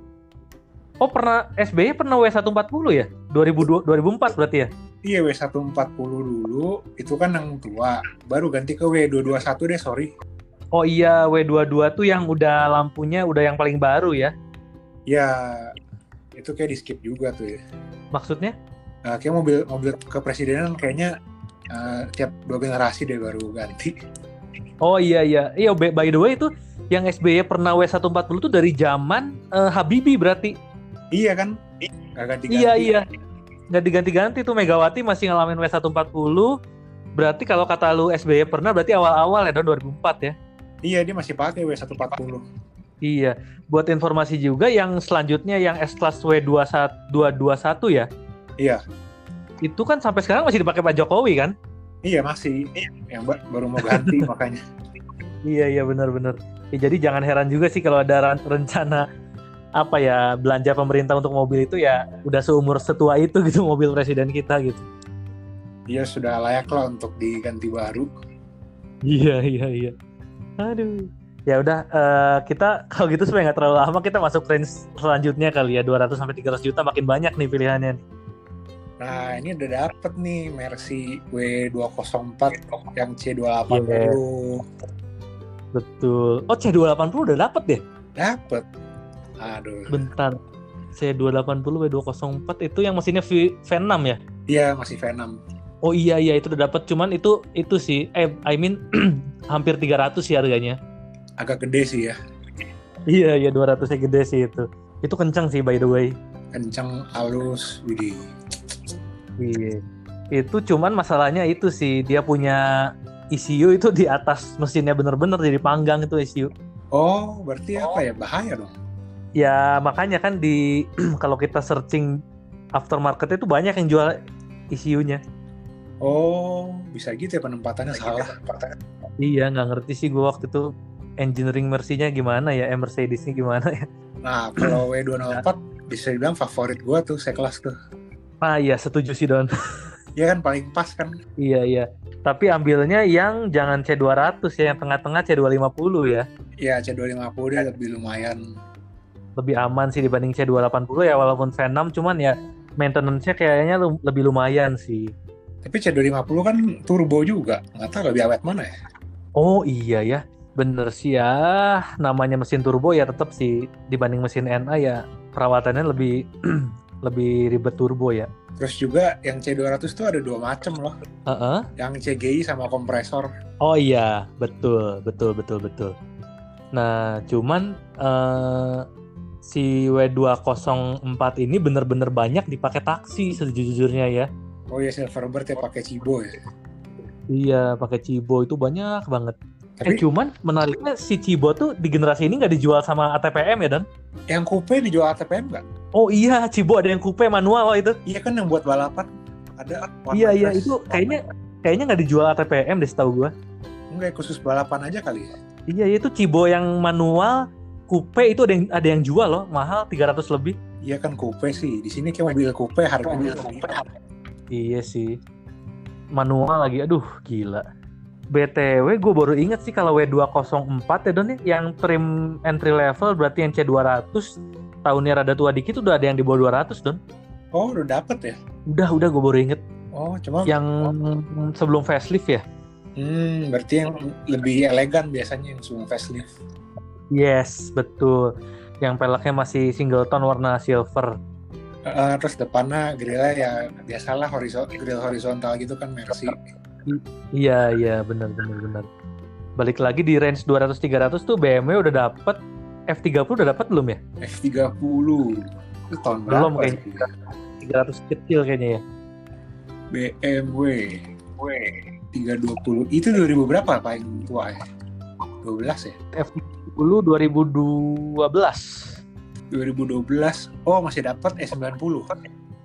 Oh pernah SBY pernah W140 ya? 2002 2004 berarti ya? iya W140 dulu itu kan yang tua baru ganti ke W221 deh sorry Oh iya W22 tuh yang udah lampunya udah yang paling baru ya. ya itu kayak di skip juga tuh ya Maksudnya? Nah, kayak mobil mobil kepresidenan kayaknya eh, tiap dua generasi deh baru ganti Oh iya iya. Iya by by the way itu yang SBY pernah W140 tuh dari zaman eh, Habibie berarti. iya kan nggak ganti ganti Iya iya. Nggak diganti-ganti tuh Megawati masih ngalamin W140. Berarti kalau kata lu SBY pernah berarti awal-awal ya tahun 2004 ya. iya dia masih pakai W140 Iya. Buat informasi juga yang selanjutnya yang S class W221 ya. Iya. Itu kan sampai sekarang masih dipakai Pak Jokowi kan? iya masih yang ba- baru mau ganti makanya Iya iya benar-benar. Ya, jadi jangan heran juga sih kalau ada ran- rencana apa ya belanja pemerintah untuk mobil itu ya udah seumur setua itu gitu mobil presiden kita gitu. dia Iya, sudah layak lah untuk diganti baru. Iya iya iya. Aduh. Ya udah eh, kita kalau gitu supaya nggak terlalu lama kita masuk range selanjutnya kali ya 200 sampai 300 juta makin banyak nih pilihannya. nih. Nah, ini udah dapet nih Mercy W204 yang C280. Iya. Betul. Oh C280 udah dapet deh. Dapet. Aduh. Bentar. C280 W204 itu yang mesinnya V V6 ya. Iya, masih V6. Oh iya iya itu udah dapet cuman itu itu sih eh I mean hampir 300 sih harganya. Agak gede sih ya. Iya iya 200-nya gede sih itu. Itu kencang sih by the way. Kencang, halus, widih. Iya. Itu cuman masalahnya itu sih dia punya ECU itu di atas mesinnya bener-bener jadi panggang itu E ECU. Oh, berarti apa ya? Bahaya dong. Ya makanya kan di kalau kita searching aftermarket itu banyak yang jual ECU-nya. Oh, bisa gitu ya penempatannya salah. Iya, nggak ngerti sih gue waktu itu engineering Mercy-nya gimana ya, eh, Mercedes-nya gimana ya. Nah, kalau W204 bisa dibilang favorit gua tuh sekelas tuh. Ah iya, setuju sih Don. Ya kan paling pas kan. iya, iya. Tapi ambilnya yang jangan C200 ya, yang tengah-tengah C250 ya. Ya C250 dia lebih lumayan. Lebih aman sih dibanding C280 ya, walaupun Venom cuman ya maintenance-nya kayaknya lu- lebih lumayan sih. Tapi C250 kan turbo juga. Nggak tahu lebih awet mana ya. Oh iya ya, bener sih ya. Namanya mesin turbo ya tetap sih dibanding mesin NA ya perawatannya lebih lebih ribet turbo ya. Terus juga yang C200 tuh ada dua macam loh. Heeh. Yang CGI sama kompresor. Oh iya, betul, betul, betul, betul. Nah, cuman eh, si W204 ini bener-bener banyak dipakai taksi sejujurnya ya. Oh ya Silverbird ya pakai Cibo ya. Iya, pakai Cibo itu banyak banget. Eh, Tapi cuman menariknya si Cibo tuh di generasi ini nggak dijual sama ATPM ya, Dan? yang coupe dijual ATPM nggak? Oh iya, Cibo ada yang coupe manual loh itu. Iya kan yang buat balapan ada warna Iya iya press. itu kayaknya kayaknya nggak dijual ATPM deh setahu gua. Enggak khusus balapan aja kali ya. Iya iya, itu Cibo yang manual coupe itu ada yang ada yang jual loh mahal 300 lebih. Iya kan coupe sih. Di sini kayak mobil coupe harganya lebih. Iya sih. Manual lagi. Aduh, gila. BTW gue baru inget sih kalau W204 ya Don ya, yang trim entry level berarti yang C200 tahunnya rada tua dikit udah ada yang di bawah 200 Don. Oh udah dapet ya. Udah udah gue baru inget Oh cuma yang sebelum facelift ya. Hmm, berarti yang lebih elegan biasanya yang sebelum facelift. Yes, betul. Yang peleknya masih singleton warna silver. Eh, terus depannya grillnya ya biasalah horizontal, grill horizontal gitu kan Mercy. Iya, iya, benar benar benar. Balik lagi di range 200 300 tuh BMW udah dapet F30 udah dapet belum ya? F30 itu tahun Belum berapa kayaknya. 300 kecil kayaknya ya. BMW W 320 itu 2000 berapa paling tua ya? 12 ya? F30 2012. 2012 oh masih dapat E90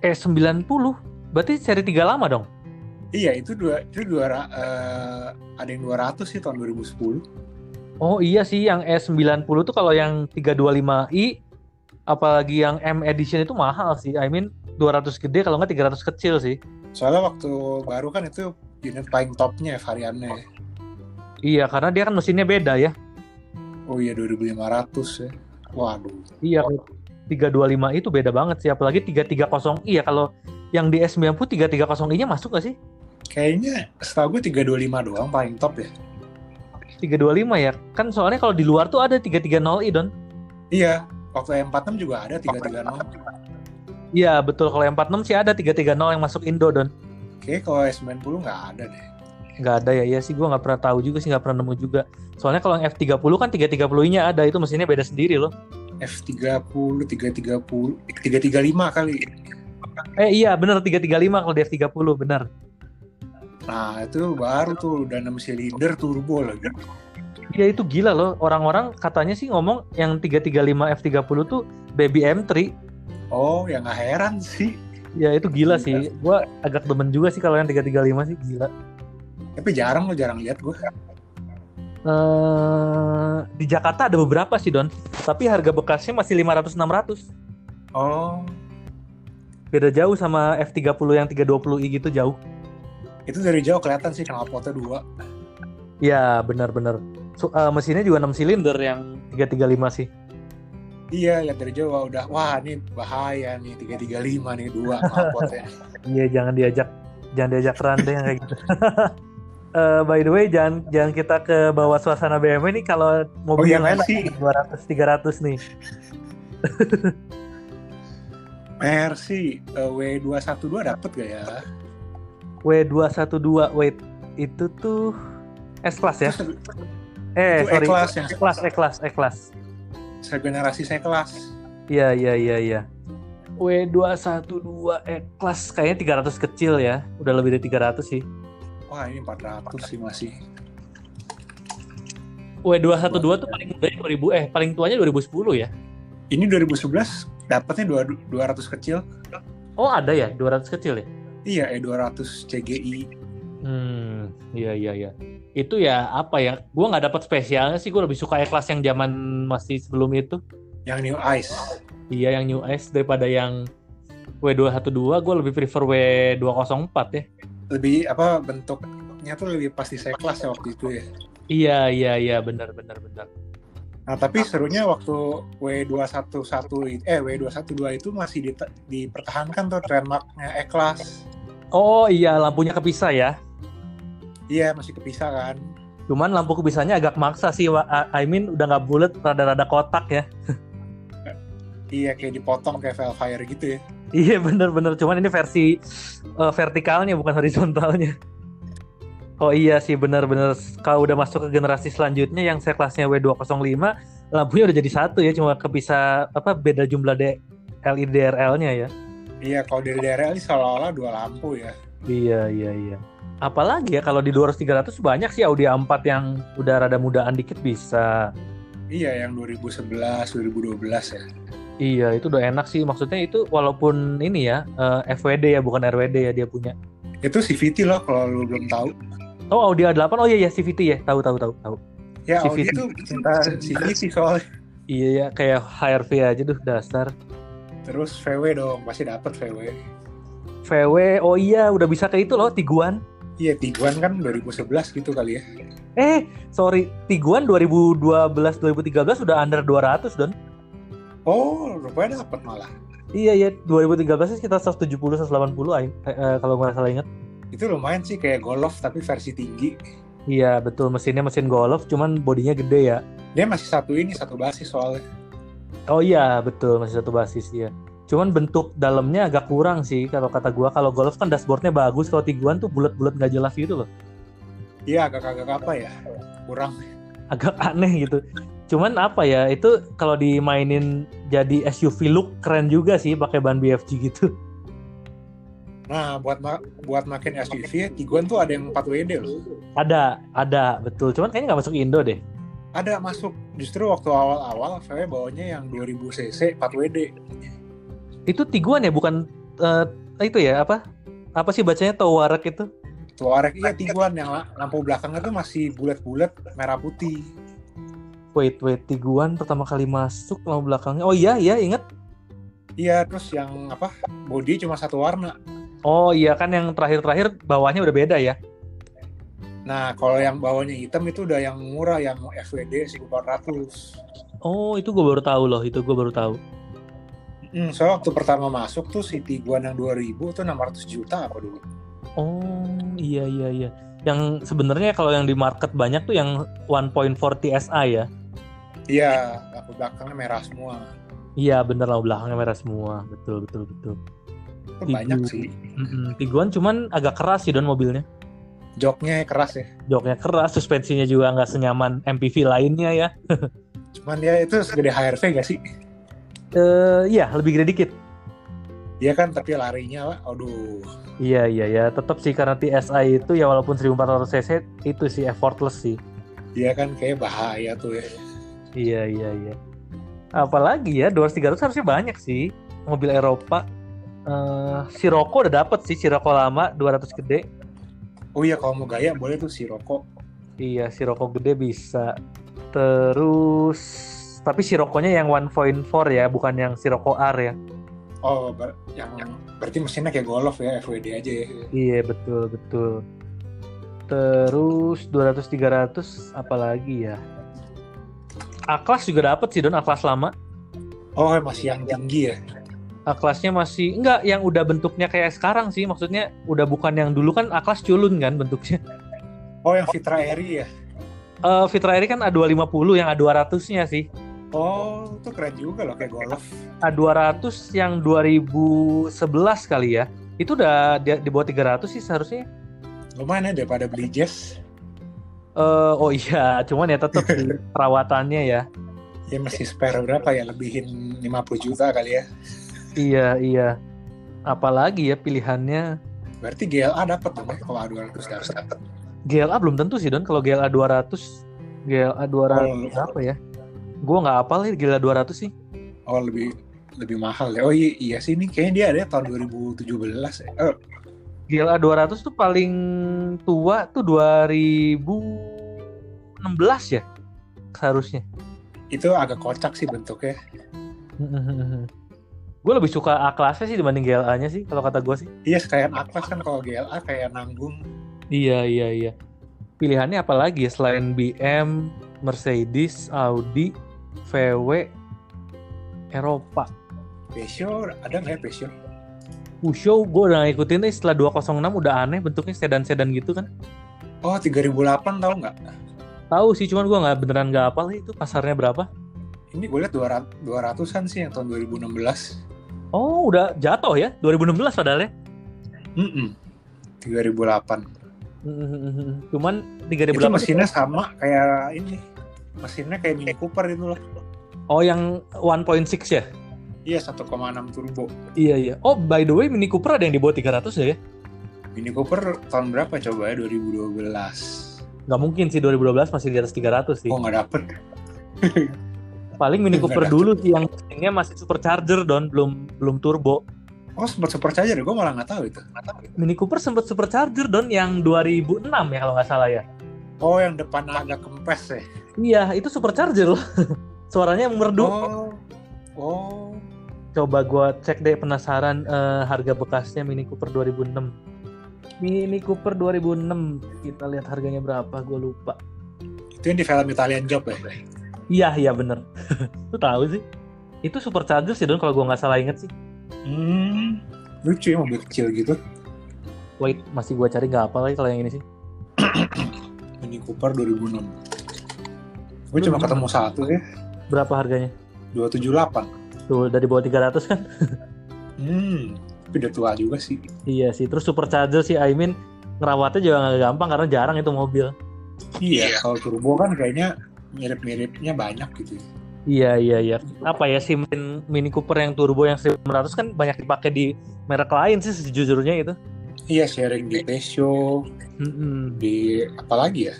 Eh 90. Berarti seri 3 lama dong. iya itu dua itu dua ra- eh, ada yang 200 sih tahun 2010 Oh iya sih yang E90 tuh kalau yang 325i apalagi yang M edition itu mahal sih. I mean 200 gede kalau nggak 300 kecil sih. soalnya waktu baru kan itu unit paling topnya variannya Iya, karena dia kan mesinnya beda ya. oh iya 2500 ya waduh Iya, kalau 325i itu beda banget sih, apalagi 330i ya kalau yang di S90 330i-nya masuk gak sih? kayaknya setahu gue 325 doang paling top ya 325 ya. Kan soalnya kalau di luar tuh ada 330i, Don. iya waktu M46 juga ada 336 Iya, betul. Kalau 46 sih ada 330 yang masuk Indo, Don. Oke, kalau S90 nggak ada deh. nggak ada ya iya sih gua nggak pernah tahu juga sih nggak pernah nemu juga soalnya kalau yang F30 kan 330 nya ada itu mesinnya beda sendiri loh F30, 330, 335 kali. eh iya bener 335 kalau di F30 bener Nah, itu baru tuh udah 6 silinder turbo lagi. iya itu gila loh orang-orang katanya sih ngomong yang 335 F30 tuh baby M3 Oh, ya nggak heran sih. ya itu gila sih gua agak demen juga sih kalau yang 335 sih gila Tapi jarang lo jarang lihat gue. eh di Jakarta ada beberapa sih Don tapi harga bekasnya masih 500-600 Oh, beda jauh sama F30 yang 320i gitu jauh itu dari jauh kelihatan sih knalpotnya dua. Ya benar-benar. So, eh, mesinnya juga 6 silinder yang 335 sih. Iya, lihat dari jauh wah, udah. Wah, ini bahaya nih 335 nih dua knalpotnya. Iya jangan diajak jangan diajak run deh yang kayak gitu. Eh, by the way jangan jangan kita ke bawah suasana BMW nih kalau mobil Oh, iya, yang lain Mercy. 200 300 nih. Mercy eh, W212 dapet gak ya? W212 wait itu tuh S class ya. Terus Eh itu sorry. E-Class yang S class E class E class. segenerasi saya kelas. Iya iya iya iya. W212 E class kayaknya 300 kecil ya. Udah lebih dari 300 sih. Wah, ini 400 sih masih. W212 tuh paling mudanya 2000 eh paling tuanya 2010 ya. Ini 2011 dapatnya dua- 200 kecil. Oh, ada ya 200 kecil ya. Iya, E200 CGI. Hmm, iya iya iya. Itu ya apa ya? Gua nggak dapat spesialnya sih. Gua lebih suka E-Class yang zaman masih sebelum itu. Yang New Ice. Iya, yang New S daripada yang W212. Gua lebih prefer W204 ya. Lebih apa bentuknya tuh lebih pasti saya kelas ya waktu itu ya. Iya iya iya, benar benar benar. Nah, tapi serunya waktu W211 it- eh W212 itu masih dite- dipertahankan tuh trademarknya E-Class. Oh iya, lampunya kepisah ya. Iya, masih kepisah kan. Cuman lampu kepisahnya agak maksa sih. Wa- I- I mean udah nggak bulat, rada-rada kotak ya. Iya, kayak dipotong kayak Velfire gitu ya. Iya bener-bener, cuman ini versi eh, vertikalnya bukan horizontalnya. Oh iya sih bener-bener, kalau udah masuk ke generasi selanjutnya yang saya kelasnya W205, lampunya udah jadi satu ya, cuma kepisah apa beda jumlah D LED DRL-nya ya. Iya, kalau dari daerah ini seolah-olah dua lampu ya. Iya iya iya. Apalagi ya kalau di 200 300 banyak sih Audi A4 yang udah rada mudaan dikit bisa. Iya, yang 2011, 2012 ya. Iya, itu udah enak sih. Maksudnya itu walaupun ini ya, eh, FWD ya bukan RWD ya dia punya. Itu CVT loh kalau lu belum tahu. Oh, Audi A8. Oh iya ya CVT ya. Tahu tahu tahu tahu. Ya, Audi CVT. itu cinta CVT soalnya. Iya ya, kayak HRV aja duh dasar. Terus VW dong, pasti dapat VW. VW, oh iya udah bisa ke itu loh Tiguan. Iya, Tiguan kan 2011 gitu kali ya. Eh, sorry, Tiguan 2012 2013 udah under 200, Don. Oh, rupanya dapat malah. Iya ya, 2013 sih kita 170 180 aing- eh, eh, kalau nggak salah ingat. Itu lumayan sih kayak Golf tapi versi tinggi. Iya, betul mesinnya mesin Golf cuman bodinya gede ya. Dia masih satu ini, satu basis soalnya. Oh iya, betul masih satu basis ya. Cuman bentuk dalamnya agak kurang sih kalau kata gua. Kalau Golf kan dashboardnya bagus, kalau Tiguan tuh bulat-bulat nggak jelas gitu loh. Iya, agak-agak apa ya? Kurang. agak aneh gitu. Cuman apa ya itu kalau dimainin jadi SUV look keren juga sih pakai ban BFG gitu. Nah, buat ma- buat makin SUV, Tiguan tuh ada yang 4WD loh. Ada, ada betul. Cuman kayaknya nggak masuk Indo deh. Ada masuk. Justru waktu awal-awal VW bawanya yang 2000 cc 4WD. Itu Tiguan ya bukan eh, itu ya apa? Apa sih bacanya Towarek itu? Tuareg iya Tiguan yang la- lampu belakangnya tuh masih bulat-bulat merah putih. Wait, wait, Tiguan pertama kali masuk lampu belakangnya. Oh iya, iya inget. Iya, terus yang apa? Bodi cuma satu warna. Oh iya kan yang terakhir-terakhir bawahnya udah beda ya. Nah, kalau yang bawahnya hitam itu udah yang murah yang FWD 1400. Oh, itu gue baru tahu loh, itu gue baru tahu. Hmm, soalnya waktu pertama masuk tuh si Tiguan yang 2000 tuh 600 juta apa dulu. Oh, iya iya iya. Yang sebenarnya kalau yang di market banyak tuh yang 1.4 TSI ya. Iya, lampu belakangnya merah semua. Iya bener lah belakangnya merah semua betul betul betul. Itu Tiguan. banyak sih. Mm-mm. Tiguan cuman agak keras sih don mobilnya. Joknya keras ya. Joknya keras, suspensinya juga nggak senyaman MPV lainnya ya. Cuman dia itu segede HRV gak sih? Eh iya lebih gede dikit. Dia kan tapi larinya, wah, aduh. Iya iya ya tetap sih karena TSI itu ya walaupun 1400 cc itu sih effortless sih. Dia kan kayak bahaya tuh ya. Iya iya iya. Apalagi ya 200 300 harusnya banyak sih mobil Eropa. Eh Sirocco udah dapet sih Sirocco lama 200 gede. Oh iya, kalau mau gaya boleh tuh si rokok. Iya, Sirocco gede bisa. Terus tapi Sirocco-nya yang 1.4 ya, bukan yang Sirocco R ya. Oh, ber- yang berarti mesinnya kayak Golf ya, FWD aja ya. Iya, betul, betul. Terus 200 300 apalagi ya? A-Class juga dapat sih Don, A-Class lama. Oh, masih yang tinggi ya. A-Classnya Eh, masih enggak yang udah bentuknya kayak sekarang sih, maksudnya udah bukan yang dulu kan A-Class culun kan bentuknya. Oh, yang Fitra Airy ya. Eh Fitra Airi kan A250 yang A200-nya sih. Oh, itu keren juga loh kayak Golf. A200 yang 2011 kali ya. Itu udah di, di bawah 300 sih seharusnya. Lumayan ya daripada beli Jazz. Eh oh iya, cuman ya tetap sih perawatannya ya. Ya masih spare berapa ya? Lebihin 50 juta kali ya. Iya, iya. Apalagi ya pilihannya Berarti GLA dapat dong ya kalau A200 dapat. GLA belum tentu sih Don kalau GLA 200 GLA 200 Oh. apa ya? Gua nggak apal ya GLA 200 sih. Oh, lebih lebih mahal ya. Oh iya, iya sih ini kayaknya dia ada ya tahun 2017 ya. Eh, GLA 200 tuh paling tua tuh 2016 ya seharusnya. Itu agak kocak sih bentuknya. gue lebih suka A kelasnya sih dibanding GLA-nya sih kalau kata gue sih. Iya sekalian atlas kan kalau GLA kayak nanggung. Iya iya iya. Pilihannya apa lagi ya selain BM, Mercedes, Audi, VW, Eropa. Besio ada nggak ya Besio? Pusho gue Uh, udah nggak ngikutin nih setelah 206 udah aneh bentuknya sedan-sedan gitu kan. Oh 3008 tau nggak? Tahu sih cuman gue nggak beneran nggak hafal sih itu pasarnya berapa. Ini gue liat 200 200-an sih yang tahun 2016. Oh udah jatuh ya 2016 padahal ya. Mm-mm. 3008. Cuman Itu 3008 mesinnya sama kayak ini. Mesinnya kayak Mini Cooper itu loh. Oh yang 1.6 ya? Iya 1,6 turbo. Iya iya. Oh by the way Mini Cooper ada yang dibawa 300 ya? ya? Mini Cooper tahun berapa coba ya? 2012. Nggak mungkin sih 2012 masih di atas 300 sih. Oh nggak dapet. Paling Mini nggak Cooper ada. dulu sih yang mesinnya masih supercharger don belum belum turbo. Oh sempat super charger, gue malah nggak tahu itu. Nggak tahu. Mini Cooper sempat supercharger don yang 2006 ya kalau nggak salah ya. Oh yang depan agak kempes ya. Iya itu supercharger loh. Suaranya merdu. Oh. Oh. Coba gua cek deh penasaran eh, harga bekasnya Mini Cooper 2006. Mini Cooper 2006 kita lihat harganya berapa gue lupa. Itu yang di film Italian Job ya. Iya iya bener. Lu tahu sih? Itu supercharger sih don kalau gua nggak salah inget sih. Hmm. Lucu ya mobil kecil gitu. Wait masih gua cari nggak apa lagi kalau yang ini sih. Mini Cooper 2006. Gue cuma ketemu satu ya. Berapa harganya? 278. Tuh dari bawah 300 kan? Hmm. Tapi udah tua juga sih. Iya sih. Terus supercharger sih I mean ngerawatnya juga nggak gampang karena jarang itu mobil. Iya. Kalau turbo kan kayaknya mirip-miripnya banyak gitu. ya. Iya iya iya. Apa ya sih Min- Mini Cooper yang turbo yang 900 kan banyak dipakai di merek lain sih sejujurnya itu. Iya sharing di Tesho, Mm-mm. di apa lagi ya?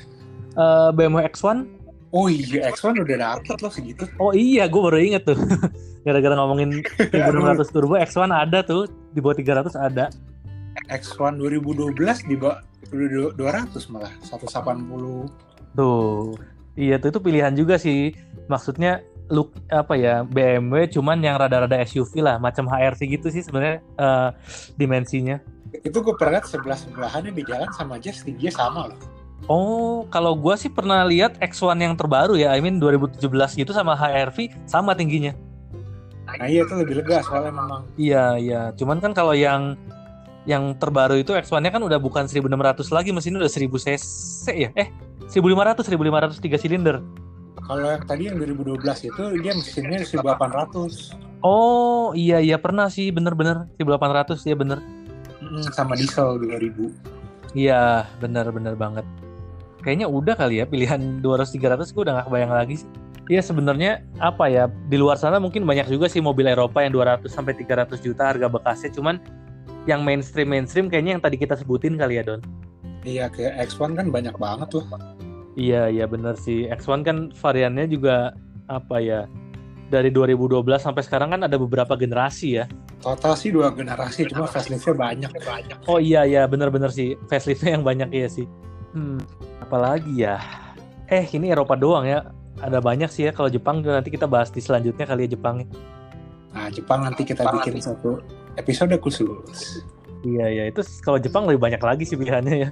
Eh, BMW X1? Oh iya X1 udah dapet loh segitu. Oh iya, gue baru inget tuh. Gara-gara ngomongin 1600 turbo X1 ada tuh di bawah 300 ada. X1 2012 di bawah 200 malah 180 Tuh, iya tuh itu pilihan juga sih. Maksudnya look apa ya BMW cuman yang rada-rada SUV lah, macam HRV gitu sih sebenarnya eh, dimensinya. itu gue pernah liat sebelah sebelahannya di jalan sama aja tingginya sama loh Oh, kalau gua sih pernah lihat X1 yang terbaru ya, I mean 2017 gitu sama HRV sama tingginya. nah iya itu lebih lega soalnya memang Iya, iya. Cuman kan kalau yang yang terbaru itu X1-nya kan udah bukan 1600 lagi, mesinnya udah 1000 cc ya. Eh, 1500, 1500 3 silinder. kalau yang tadi yang 2012 itu dia mesinnya 1800 Oh, iya iya pernah sih, bener-bener 1800 ya bener. Mm, sama diesel 2000 Iya, benar-benar banget. Kayaknya udah kali ya pilihan 200 300 gue udah gak kebayang lagi sih. Iya sebenarnya apa ya di luar sana mungkin banyak juga sih mobil Eropa yang 200 sampai 300 juta harga bekasnya cuman yang mainstream mainstream kayaknya yang tadi kita sebutin kali ya Don. iya kayak X1 kan banyak banget loh Iya iya benar sih X1 kan variannya juga apa ya dari 2012 sampai sekarang kan ada beberapa generasi ya. total sih dua generasi cuma faceliftnya banyak banyak Oh iya iya benar-benar sih faceliftnya yang banyak ya sih. Hmm, apalagi ya. Eh ini Eropa doang ya. Ada banyak sih ya kalau Jepang nanti kita bahas di selanjutnya kali ya Jepang. nah Jepang nanti kita Jepang bikin satu episode khusus Iya iya itu s- kalau Jepang lebih banyak lagi sih pilihannya ya.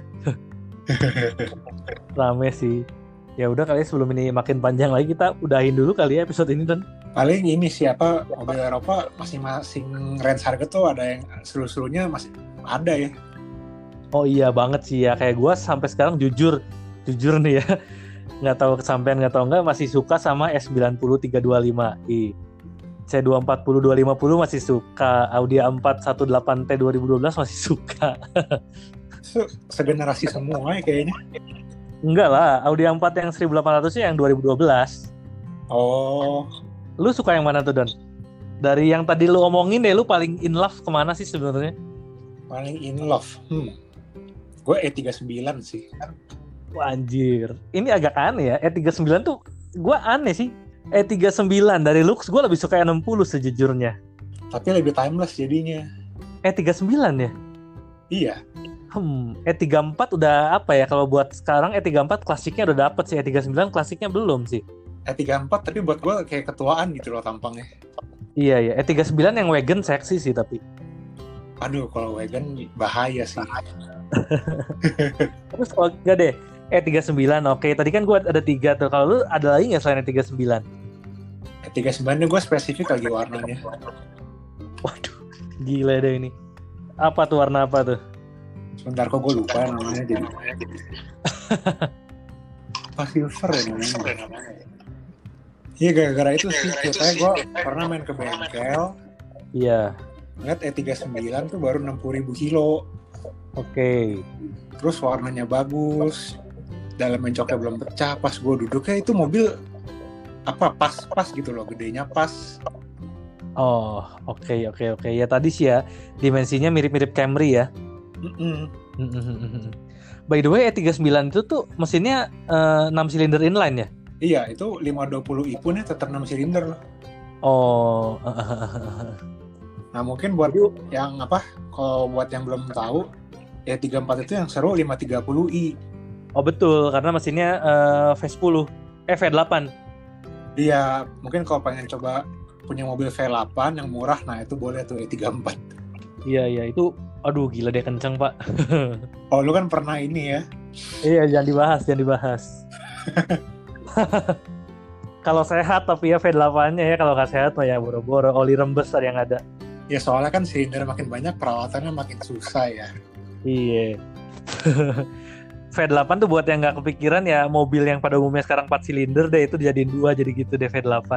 Rame sih. Ya udah kali ya, sebelum ini makin panjang lagi kita udahin dulu kali ya episode ini dan paling ini siapa mobil Eropa masing-masing range harga tuh ada yang seru-serunya masih ada ya Oh iya banget sih ya kayak gua sampai sekarang jujur jujur nih ya nggak tahu kesampaian nggak tahu nggak masih suka sama S90 325i C240 250 masih suka Audi A418T 2012 masih suka Se- segenerasi semua ya kayaknya enggak lah Audi A4 yang 1800 sih yang 2012 oh lu suka yang mana tuh Don? Dari yang tadi lu omongin deh lu paling in love kemana sih sebenarnya? paling in love hmm. gue E39 sih Wah, anjir ini agak aneh ya E39 tuh gua aneh sih E39 dari looks gua lebih suka E60 sejujurnya tapi lebih timeless jadinya Eh 39 ya? iya Hmm, E34 udah apa ya kalau buat sekarang E34 klasiknya udah dapet sih, E39 klasiknya belum sih. E34 E tapi buat gue kayak ketuaan gitu loh tampangnya. Iya ya, E39 yang wagon seksi sih tapi. Aduh, kalau wagon bahaya sih. Terus kalau enggak deh, E39 oke. Tadi kan gua ada tiga tuh. Kalau lu ada lagi nggak selain E39? E39 nya gue spesifik lagi warnanya. Waduh, gila deh ini. Apa tuh warna apa tuh? Sebentar kok gue lupa namanya jadi. Apa silver ya namanya? Iya gara-gara itu sih ceritanya gue pernah main ke bengkel Iya, Ngeliat E39 tuh baru 60 ribu kilo oke. Terus warnanya bagus Dalam mencoknya belum pecah Pas gue duduknya itu mobil apa pas-pas gitu loh gedenya pas Oh, oke oke oke. Ya tadi sih ya, dimensinya mirip-mirip Camry ya. Hmm, Mm-mm. By the way, E39 itu tuh mesinnya 6 silinder inline ya? iya itu 520 i pun ya tetap 6 silinder Oh, nah mungkin buat yang apa kalau buat yang belum tahu ya 34 itu yang seru 530 i oh betul karena mesinnya eh, V10, eh V8. Iya, mungkin kalau pengen coba punya mobil V8 yang murah, nah itu boleh tuh E34. Iya iya itu, aduh gila deh kenceng pak. Oh, lu kan pernah ini ya? Iya jangan dibahas jangan dibahas. kalau sehat tapi ya V8-nya ya kalau nggak sehat mah ya boro-boro oli rembes ada yang ada. Ya soalnya kan silinder makin banyak, perawatannya makin susah ya. Iya. V8 tuh buat yang nggak kepikiran ya mobil yang pada umumnya sekarang 4 silinder deh itu dijadiin dua jadi gitu deh V8.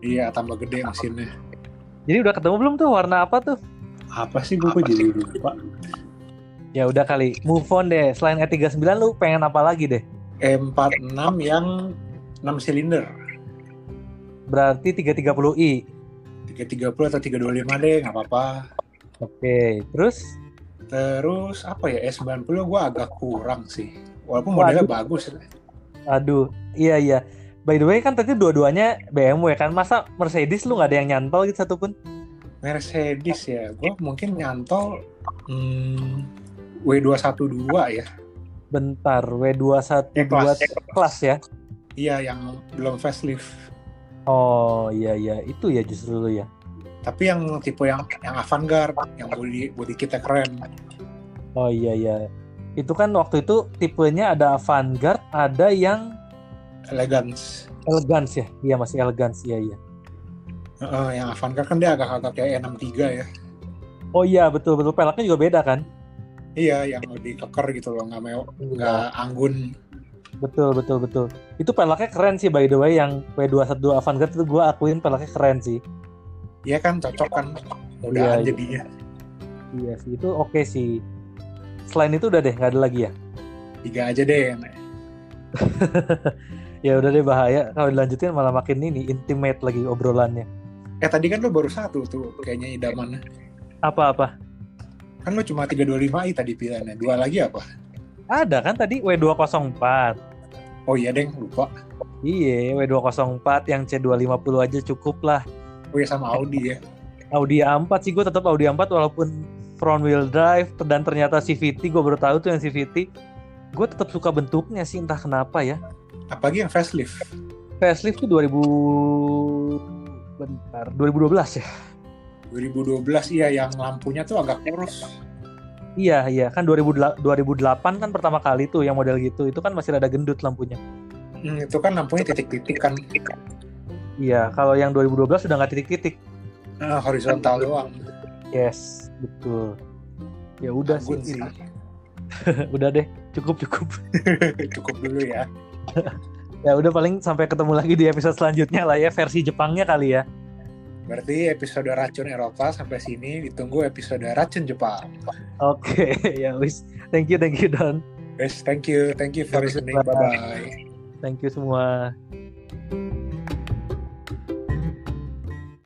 Iya, tambah gede mesinnya. Jadi udah ketemu belum tuh warna apa tuh? Apa sih gue kok jadi lupa? Ya udah kali move on deh. Selain E39 lu pengen apa lagi deh? E46 E yang 6 silinder. Berarti 330i. 330 atau 325 deh, nggak apa-apa. Oke, terus Terus apa ya, E90 gue agak kurang sih. Walaupun modelnya bagus. aduh, iya iya. By the way kan tadi dua-duanya BMW kan. Masa Mercedes lu nggak ada yang nyantol gitu satupun? Mercedes ya, gue mungkin nyantol hmm, W212 ya. Bentar, W21 Ya, kelas. kelas ya. Iya yang belum facelift. Oh, iya iya, itu ya justru lu ya. Tapi yang tipe yang yang avant-garde, yang body body kitnya keren. Oh iya iya. Itu kan waktu itu tipenya ada avant-garde, ada yang Elegance. elegance ya. Iya masih elegance, iya iya. Heeh, yang avant-garde kan dia agak-agak kayak E63 ya. Oh iya, betul betul peleknya juga beda kan? Iya, yang lebih keker gitu loh, nggak mewah, nggak Iya. anggun. Betul betul betul. Itu peleknya keren sih by the way yang W21 Avantgarde itu gua akuin peleknya keren sih. Iya kan, cocok kan, Iya, mudahan iya. jadinya. Iya sih, itu oke sih. Selain itu udah deh, nggak ada lagi ya. Tiga aja deh. Ya udah deh bahaya kalau dilanjutin malah makin ini intimate lagi obrolannya. Eh tadi kan lu baru satu tuh, kayaknya idamannya. Apa-apa? Kan lu cuma 325i tadi pilihannya, dua lagi apa? Ada kan tadi W204. Oh iya deng, lupa. Iya, W204 yang C250 aja cukup lah. Oh iya sama Audi ya. Audi A4 sih gue tetap Audi A4 walaupun front wheel drive dan ternyata CVT gue baru tahu tuh yang CVT. Gue tetap suka bentuknya sih entah kenapa ya. Apalagi yang facelift. facelift tuh 2000 bentar 2012 ya 2012 iya yang lampunya tuh agak kurus. iya iya kan 2000 2008 kan pertama kali tuh yang model gitu itu kan masih ada gendut lampunya Hmm, itu kan lampunya titik-titik kan iya kalau yang 2012 sudah nggak titik-titik Ah, horizontal doang. yes betul ya udah Anggun sih, udah deh cukup cukup Cukup dulu ya. ya udah paling sampai ketemu lagi di episode selanjutnya lah ya versi Jepangnya kali ya Berarti episode racun Eropa sampai sini ditunggu episode racun Jepang. oke ya wis thank you thank you Don Guys, thank you, thank you for listening. Bye bye. thank you semua